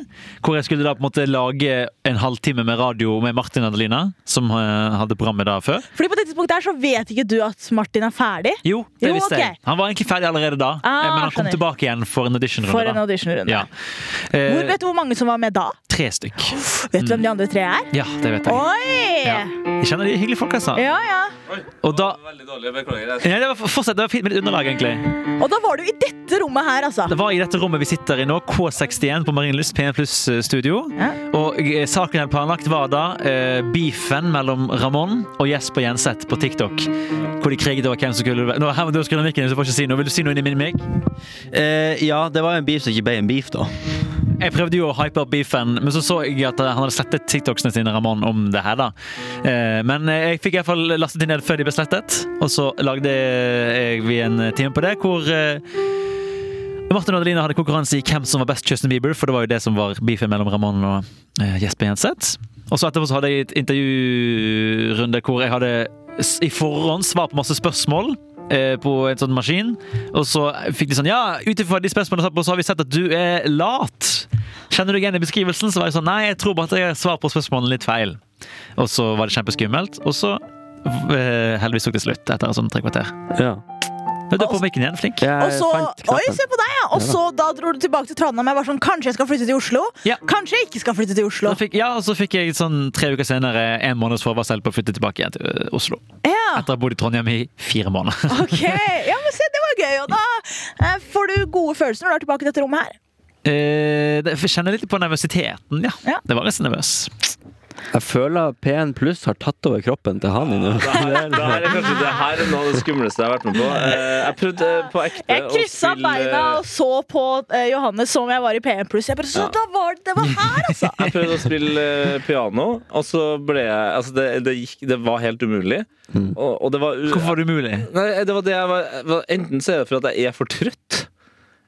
C: Hvor jeg skulle da på en måte lage en halvtime med radio med Martin Adelina, som eh, hadde programmet da før.
D: Fordi på dette tidspunktet her så vet ikke du at Martin er ferdig
C: Jo, det
D: Jo,
C: visste jeg.
D: ok.
C: Han var egentlig ferdig allerede da,
D: Ah,
C: eh, men han kom
D: skjønner.
C: tilbake igjen for en audition-runde.
D: for en
C: da.
D: auditionrunde.
C: Ja. Eh,
D: Hvor vet du hvor mange som var med da?
C: Tre stykk.
D: Vet du hvem de andre tre er?
C: Ja, det vet jeg.
D: Oi!
C: Ja.
D: Ja.
C: Jeg kjenner de er hyggelige folk, altså.
D: ja,
C: Og da
B: Veldig dårlig, beklager.
C: Nei, det var fortsatt, det var fint med litt underlag, egentlig.
D: Og da var du i dette rommet her, altså.
C: Det var i dette rommet vi sitter i nå, K61 på Marienlyst, P1 Pluss eh, studio.
D: Ja.
C: Og eh, saken jeg hadde planlagt, var da eh, beefen mellom Ramón og Jesper Jenseth på TikTok. Hvor de kriget over hvem som skulle være Nå, Herman, du har skrudd av mikken, så du får ikke si noe. Vil du si noe inn i min mic?
E: Eh, ja, det var en beef som ikke ble en beef, da.
C: Jeg prøvde jo å hype opp beefen, men så så jeg at eh, han hadde slettet TikToksene sine Ramon, om det her. da. Eh, Men jeg fikk i hvert fall lastet de ned før de ble slettet, og så lagde jeg- vi en time på det hvor eh, Martin og Adelina hadde konkurranse i hvem som var best Justin Bieber, for det var jo det som var beefen mellom Ramon og eh, Jesper Jenseth. Og så etterpå så hadde jeg et intervjurunde hvor jeg hadde s- i forhånd svar på masse spørsmål eh, på en sånn maskin. Og så fikk de sånn Ja, ut ifra de spørsmålene du har på, så har vi sett at du er lat. Kjenner du deg igjen i beskrivelsen? Så var jeg sånn Nei, jeg tror bare at jeg har svar på spørsmålene litt feil. Og så var det kjempeskummelt. Og så eh, heldigvis tok det slutt etter sånn tre kvarter.
E: Ja.
C: Men du er på mikken igjen, flink.
E: Jeg
D: Og så, oi,
E: fant knappen.
D: se på deg, ja. Og så da dro du tilbake til Trondheim. Jeg var sånn, Kanskje jeg skal flytte til Oslo?
C: Ja.
D: Kanskje jeg ikke skal flytte til Oslo?
C: Da fikk, ja, og så fikk jeg sånn tre uker senere en måneds forvarsel på å flytte tilbake igjen til eh, Oslo.
D: Ja,
C: Etter å ha bodd i Trondheim i fire måneder.
D: ok Ja, men se, det var gøy. Og da eh, får du gode følelser når du er tilbake i dette rommet her.
C: Eh, det- jeg kjenner litt på nervøsiteten, ja.
D: Ja.
C: Det var ganske nervøs.
E: Jeg føler P1 Pluss har tatt over kroppen til han nå.
B: Det her, det her er kanskje det her er noe av det skumleste jeg har vært med på. Eh, Jeg prøvde eh, på ekte
D: Jeg kryssa
B: eh,
D: beina altså. og så på eh, Johannes som om jeg var i PM+. Jeg bare, så da var det, det var her, altså!
B: Jeg prøvde å spille eh, piano, og så ble jeg Altså, det, det, gikk, det var helt umulig. Og, og det var u-
C: Hvorfor var det umulig?
B: Nei, det var det jeg var, var Enten så er det for at jeg er for trøtt.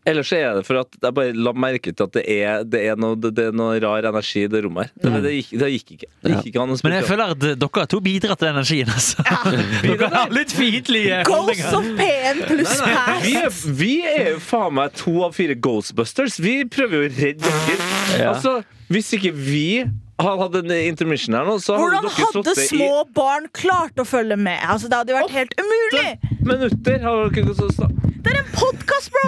B: Eller så er det for at jeg bare la merke til at det er, det er, noe, det, det er noe rar energi i det rommet her. Det, det, gikk, det gikk ikke. Det gikk ikke an å
C: Men jeg
B: spille.
C: føler at dere to bidrar til den energien. Altså. Dere har litt fiendtlige
D: Ghosts of PM pluss her.
B: Vi er, vi er jo faen meg to av fire Ghostbusters. Vi prøver jo å redde dere. Altså, hvis ikke vi han hadde en intermission her nå, så
D: Hvordan
B: hadde dere
D: hadde
B: sittet
D: små barn klart å følge med? Altså, Det hadde jo vært helt umulig!
B: i minutter. Hadde dere så sta-
D: Det er en podkast, bro!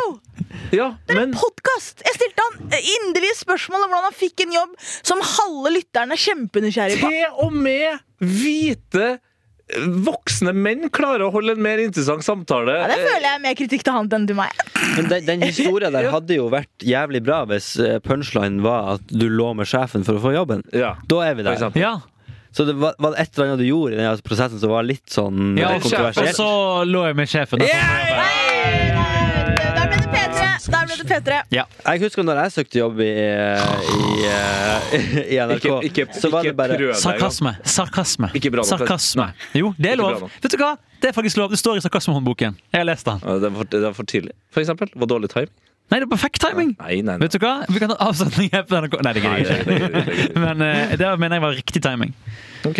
B: Ja, men
D: Podcast. Jeg stilte han eh, inderlige spørsmål om hvordan han fikk en jobb som halve lytterne er kjempenysgjerrig på.
B: til og med hvite voksne menn klarer å holde en mer interessant samtale.
D: Ja, det føler jeg er mer kritikk til han enn til meg.
E: Men den, den historien der hadde jo vært jævlig bra hvis eh, punchline var at du lå med sjefen for å få jobben.
B: Eh, Ja.
E: Da er vi
B: For
E: der.
B: eksempel.
C: Ja,
E: Så det var, var det et eller annet du gjorde i den her prosessen som var litt sånn
C: ja og
E: eh,
C: og
E: kontroversielt?
C: så lå jeg med sjefen. da.
D: Da ble det P3! Da ble det P3.
C: Ja.
E: Jeg husker når jeg søkte jobb i, i, eh, i NRK,
B: Ikke, ikke,
E: så var
B: ikke
E: det bare
B: prøv deg engang.
C: Sarkasme. Sarkasme.
B: Ikke bra nok, det.
C: sarkasme. Jo, det er
B: ikke bra
C: lov.
B: nok.
C: Vet du hva? Det er faktisk lov. Det står i sarkasmehåndboken. Jeg har lest den.
B: Ja, Det var, det var for tidlig, for eksempel. Det var dårlig time.
C: Nei, det er perfekt timing.
B: Nei, nei, nei.
C: Vet du hva? Vi kan ta avsetning her på NRK. Nei, det
B: Nei, det-
C: gidder
B: det-
C: jeg
B: det- det-
C: ikke. Men eh, det mener jeg var riktig timing.
B: Ok.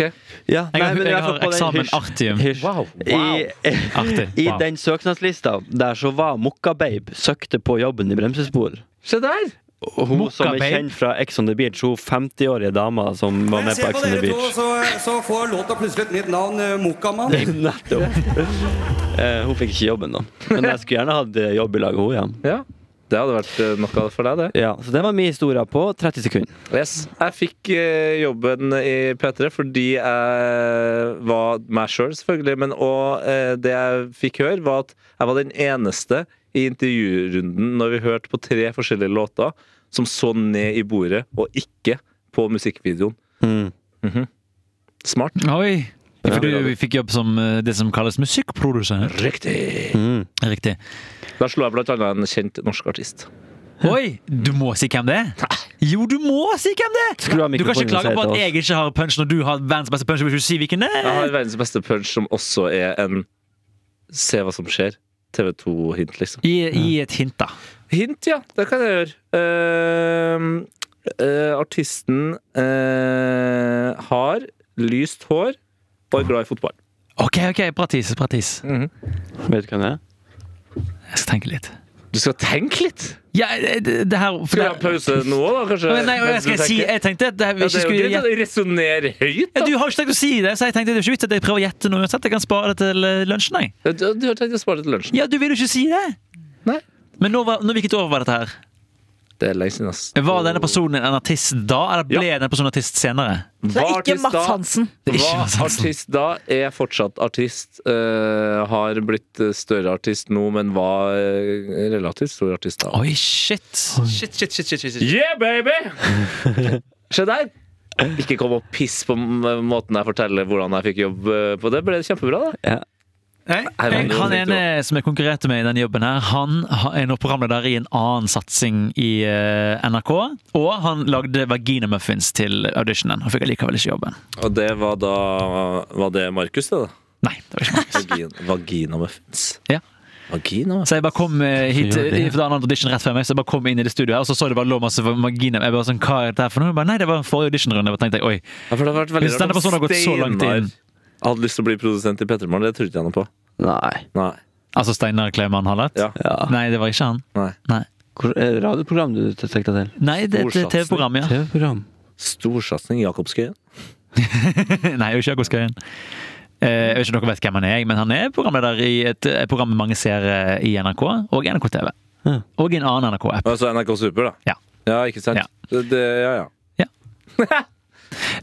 E: Ja,
C: Jeg har-
E: nei, men i
C: jeg
E: hvert
C: har
E: fall på den
C: eksamen
E: hysj-
C: artium.
E: hysj.
B: Wow,
E: I,
C: Artig.
E: I
C: Wow.
E: den søknadslista der så var Mokkababe søkte på jobben i bremsespor.
B: Se der!
E: Og Hun som er
C: Mokkababe?
E: kjent fra Ex on the Beach, hun 50-årige dama som var
J: Men
E: med
J: se
E: på
J: på
E: Ex on
J: dere
E: the
J: to,
E: Beach.
J: så, så får låta plutselig et nytt navn. eh, Mokkamann.
E: Nettopp. Eh, hun fikk ikke jobben, da. Men jeg skulle gjerne hatt eh, jobb i lag med henne. igjen.
B: Ja. Det hadde vært eh, noe for deg, det.
E: Ja, så det var min historie på 30 sekunder.
B: Yes. Jeg fikk eh, jobben i P3 fordi jeg var meg sjøl, selvfølgelig. Men og, eh, det jeg fikk høre, var at jeg var den eneste i intervjurunden når vi hørte på tre forskjellige låter, som så ned i bordet og ikke på musikkvideoen.
E: Mm.
B: Mhm. Smart.
C: Oi. For du fikk jobb som eh, det som kalles musikkprodusent.
B: Riktig.
E: Mm.
C: Riktig.
B: Da slo jeg blant annet en kjent norsk artist.
C: Oi! Du må si hvem det er. Jo, du må si hvem det er!
E: Skru av
C: Du kan ikke
E: mikrofonen
C: klage
E: og
C: på at
E: si til oss.
C: jeg ikke har punch når du har verdens beste punch. Vil du si hvilken det
B: Jeg
C: er?
B: har verdens beste punch, som også er en Se hva som skjer. TV2-hint, liksom.
C: Gi, gi et hint, da.
B: Hint, ja. Det kan jeg gjøre. Ehm, eh, artisten eh, har lyst hår og er glad i fotball.
C: OK, ok, pratis. pratis.
B: Mm.
E: Vet du hvem det er?
C: Jeg skal tenke litt.
B: Du skal tenke litt!
C: Ja, eh, det, det her for
B: Skal vi
C: det,
B: ha pause nå, da? kanskje?
C: Å, Nei, og jeg,
B: Mens
C: skal
B: du
C: si,
B: tenker?
C: jeg tenkte at det her,
B: ja,
C: vi ikke
B: Det er jo
C: skulle
B: greit
C: gjette
B: å resonnere høyt,
C: ja,
B: da!
C: Du har ikke tenkt å si det, så jeg tenkte det er ikke vits at jeg prøver å gjette noe uansett. Jeg kan spare det til eh, lunsjen, jeg.
B: Du, du har tenkt å spare det til lunsjen.
C: Ja, du vil jo ikke si det!
B: Nei.
C: Men nå, var, nå hvilket år var dette her?
B: Det er lenge siden, ass.
C: Var denne personen en artist da, eller ble denne personen artist senere?
D: Så det
B: Hva
D: er ikke
B: artist da?
D: Mats Hansen.
C: Det er ikke
B: Hva
C: Mads Hansen.
B: artist da er fortsatt artist. eh, har blitt eh, større artist nå, men var eh, relativt stor artist da.
C: Oi, shit. Shit, shit, shit, shit, shit, shit.
B: Yeah, baby! Se der. Ikke kom og piss på m- måten jeg forteller hvordan jeg fikk jobb eh, på. Det ble kjempebra, da.
C: Nei,
B: Her var det jo
C: Han
B: litt
C: ene som jeg konkurrerte med i den jobben her, han ha- er nå programleder i en annen satsing i eh, NRK. Og han lagde vaginamuffins til auditionen. Han fikk allikevel ikke jobben.
B: Og det var da Var det Markus, det, da?
C: Nei, det var ikke meg.
B: Vagin, vagina muffins.
C: Ja.
B: Vagina muffins.
C: Så jeg bare kom eh, hit
E: gjør det, ja.
C: For det var en annen audition rett før meg Så jeg bare kom inn i det studioet her Og så så det bare lå masse vagina Jeg bare sånn, hva er dette her for noe? Jeg Bare, Nei, det var forrige auditionrunde Jeg bare tenkte, oi
B: Ja, for det har vært veldig
C: Hvis denne
B: rart om
C: personen har gått så langt inn.
B: Steinar hadde lyst til å bli produsent i P3 Morgen. Det trodde jeg noe på.
E: Nei.
B: Nei.
C: Altså Steinar Kleiman Hallett
B: Ja.
E: Ja.
C: Nei, det var ikke han
B: Nei.
C: Nei,
E: Hvor er det radioprogram du sikta til?
C: Nei det er et
B: Storsatsing.
C: TV-program, ja
E: TV-program.
B: Storsatsing Jakobskøyen.
C: Nei, jeg er ikke Jakob Skøyen Eh, Jeg vet ikke om dere vet hvem han er jeg, Men han er programleder i et, et program med mange seere i NRK Og NRK TV
E: Ja.
C: Og i en annen NRK-app
B: Altså NRK Super, da.
C: Ja.
B: Ja, ikke sant?
C: Ja.
B: Det, det, ja, ja.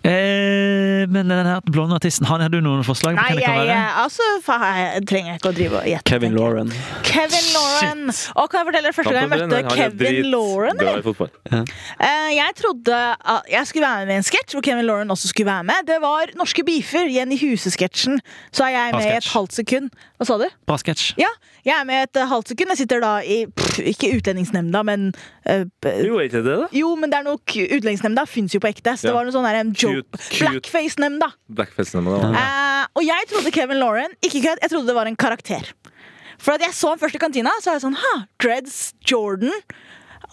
C: eh, Men den her blonde artisten Han, har du noen forslag? på
D: Nei,
C: hvem det kan
D: jeg,
C: være?
D: altså, faen, jeg trenger ikke å drive og gjette.
E: Kevin
D: tenker jeg.
E: Lauren.
D: Kevin Lauren. Og kan jeg fortelle dere første gang jeg
B: Han er
D: møtte
B: drit
D: Kevin Lauren?
B: bra
D: eller?
B: i fotball.
D: Eh, Jeg trodde at jeg skulle være med i en sketsj hvor Kevin Lauren også skulle være med. Det var Norske beefer, Jenny Huse-sketsjen. Så er jeg
C: Bra
D: med i et
C: sketsj.
D: halvt sekund. Hva sa du?
C: Bra sketsj
D: Ja, jeg er med i et eh, halvt sekund. Jeg sitter da i pff, Ikke Utlendingsnemnda, men eh, p-
B: Jo, er ikke det, da?
D: Jo, men det er noe k- Utlendingsnemnda fins jo på ekte. Så
B: Ja.
D: det var noe sånn der, em, joke
B: Cute, cute.
D: Blackface-nemnda.
B: Blackfesten med det.
D: Eh, og jeg trodde Kevin Lauren Ikke kødd, jeg trodde det var en karakter. For at jeg så han først i kantina, så var jeg sånn ha, Dreads, Jordan.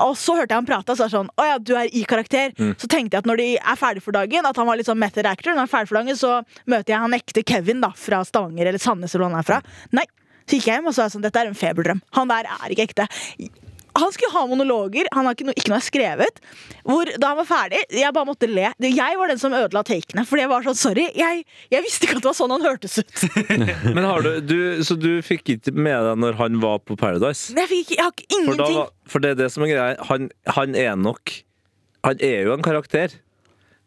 D: Og så hørte jeg han prate, og så var jeg sånn, å ja, du er i karakter.
B: Mm.
D: Så tenkte jeg at når de er ferdig for dagen, at han var litt sånn method actor, når han er ferdig for dagen, så møter jeg han ekte Kevin da, fra Stavanger eller Sandnes eller hvor han er fra. Nei. Så gikk jeg hjem og så var jeg sånn, dette er en feberdrøm. Han der er ikke ekte. han skulle ha monologer, han har ikke noe, ikke noe skrevet. Hvor da han var ferdig, jeg bare måtte le. Det- Jeg var den som ødela takene. Fordi jeg var sånn, sorry, jeg, jeg visste ikke at det var sånn han hørtes ut.
B: Men har du, du Så du fikk ikke med deg når han var på Paradise?
D: Men jeg, fikk ikke, jeg har ikke
B: For, da,
D: ingenting.
B: var- for det er det som er greia. Han, han er nok Han er jo en karakter.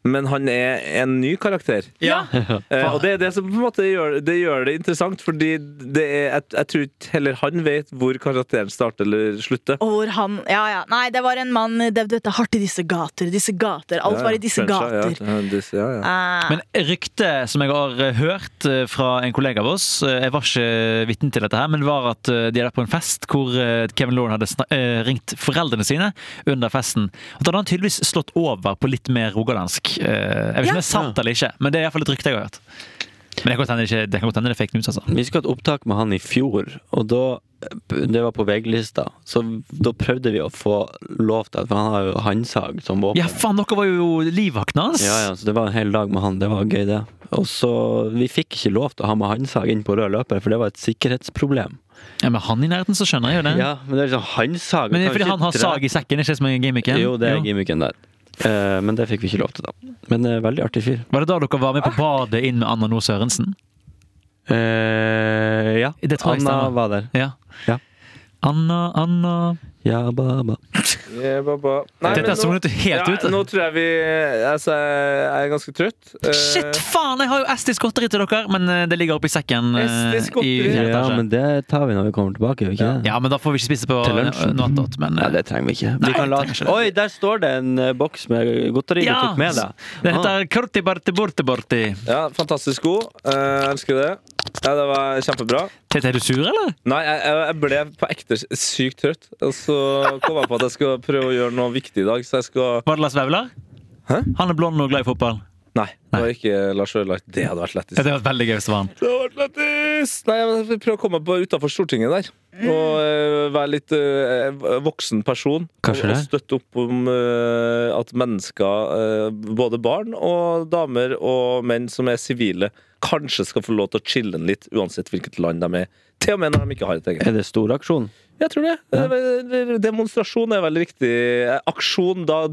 B: Men han er en ny karakter.
C: Ja.
B: Eh, og det er det som på en måte gjør det, gjør det interessant, fordi det er, jeg, jeg tror ikke heller han vet hvor karakteren starter eller slutter.
D: Og hvor han, ja, ja. Nei, det var en mann det, Dette hardt i disse gater. Disse gater. Alt var i disse
B: Kanskje,
D: gater.
B: Ja, ja, disse, ja, ja.
D: Eh,
C: Men ryktet som jeg har eh, hørt eh, fra en kollega av oss, eh, jeg var ikke vitne til dette her, men var at eh, de er der på en fest hvor eh, Kevin Lauren hadde sna- eh, ringt foreldrene sine under festen. Og da hadde han tydeligvis slått over på litt mer rogalandsk. Eh, Jeg vet ikke
D: Ja.
C: om det er sant eller ikke, men det er iallfall et rykte jeg har hørt. Men det kan godt hende det ikke- det kan godt hende det er fake news, altså.
E: Vi skulle hatt opptak med han i fjor, og da det var på VG-lista. Så da prøvde vi å få lov til det, for han har jo handsag som våpen.
C: Ja, faen, dere var jo livvaktene hans!
E: Ja, ja, så det var en hel dag med han. Det var gøy, det. Og så, Vi fikk ikke lov til å ha med handsag inn på rød løper, for det var et sikkerhetsproblem.
C: Ja, Med han i nærheten, så skjønner jeg jo det.
E: Ja, Men det er liksom handsag
C: Men det er
E: du kan
C: fordi
E: ikke
C: han har
E: dra-
C: sag i sekken, ikke det som er gimmicken?
E: Jo, det er gimmicken der. Eh, men det fikk vi ikke lov til, da. Men eh, veldig artig fyr.
C: Var det da dere var med på
E: Ah.
C: badet inn med Anna No Sørensen?
E: Eh, ja.
C: Det tror jeg
E: Anna
C: stemmer.
E: var der.
C: Ja.
E: Ja.
C: Anna, Anna
E: Ja, ba, ba.
B: Yeah, ba, ba. Nei,
C: Dette
B: men nå-
C: sonet helt ut.
B: Nå tror jeg vi Altså, jeg er ganske trøtt. Eh,
C: Shit, faen! Jeg har jo estisk godteri til dere, men eh, det ligger oppe i sekken. eh,
B: Estisk godteri?
C: i fjerde
E: Ja,
C: etasje.
E: men det tar vi når vi kommer tilbake, gjør vi ikke det?
C: ja, men da får vi ikke spise på
E: Til lunsjen.
C: nattot. Men eh,
E: Nei, det trenger vi ikke.
C: Nei,
E: vi kan la...
C: det trenger ikke det.
E: Oi, der står det en eh, boks med godteri
C: ja,
E: du tok med deg.
C: Det heter Kurti Barti Borti Borti.
B: Ja, fantastisk god. Eh, elsker det. Ja, det var kjempebra.
C: Tete, er du sur, eller?
B: Nei, jeg, jeg jeg ble på ekte sykt trøtt. Og så kom jeg på at jeg skal prøve å gjøre noe viktig i dag, så jeg skal
C: Var det Lars Vaular?
B: Hæ?
C: Han er blond og glad i fotball.
B: Nei, det var ikke Lars Ørlach. Det hadde vært
C: Ja,
B: lettest.
C: det var veldig gøy hvis det var han.
B: Det hadde vært lettest! Nei, jeg vil prøve å komme meg utafor Stortinget der. Og eh, være litt eh, voksen person.
E: Kanskje
B: og, og
E: det.
B: støtte opp om eh, at mennesker, eh, både barn og damer og menn som er sivile, kanskje skal få lov til å chille litt, uansett hvilket land de er. Til og med når de ikke har et eget.
E: Ah. Er det stor aksjon?
B: Jeg tror det. Eh, Demonstrasjon er veldig riktig. Eh, Aksjon, da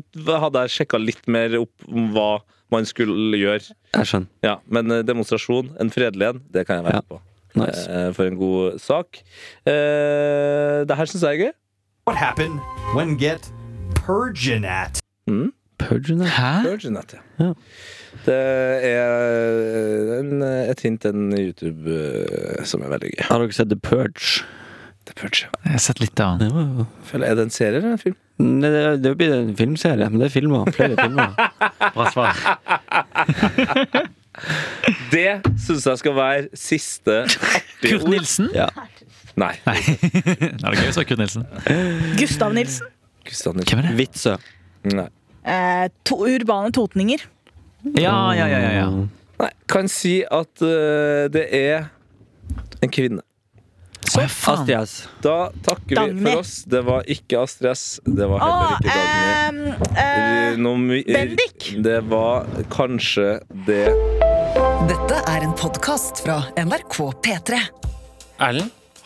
B: hadde jeg sjekka litt mer opp om hva man skulle gjøre.
E: Jeg skjønner.
B: Ja, Men eh, demonstrasjon, en fredelig en, det kan jeg være
E: Ja.
B: med på.
E: Nice.
B: Eh, for en god sak. Eh, det her syns jeg er gøy.
K: What happened when get Perginat?
B: Mm.
E: Purgeon, ja.
C: Hæ?
B: Virginette,
E: Ja.
B: Det er en, et hint til en YouTube eh, som er veldig gøy.
E: Har dere sett The Purge?
B: The Purge.
C: Jeg har sett litt av han.
E: Det var jo
B: Føler- Er det en serie eller en film?
E: Nei, det, det blir en filmserie, men det er filmer. Flere filmer.
C: Bra svar.
B: Det syns jeg skal være siste artige
C: Kurt
B: ord.
C: Nilsen?
E: Ja.
B: Nei.
C: Nei, det er gøy hvis det var Kurt Nilsen.
D: Gustav Nilsen.
B: Kristian Nilsen.
C: Hvem er det?
E: Vitsø.
B: Nei.
D: Eh, to urbane totninger.
C: Ja, ja, ja. ja, ja.
B: Nei, kan si at eh, det er en kvinne.
C: Så, faen.
E: Astrid S.
B: Da takker vi
D: Dagny.
B: for oss. Det var ikke Astrid S. Det var heller
D: Og
B: ikke Dagny.
D: eh,
B: Noe my-
D: Bendik.
B: Det var kanskje det
L: Dette er en podkast fra NRK P3.
M: Erlend,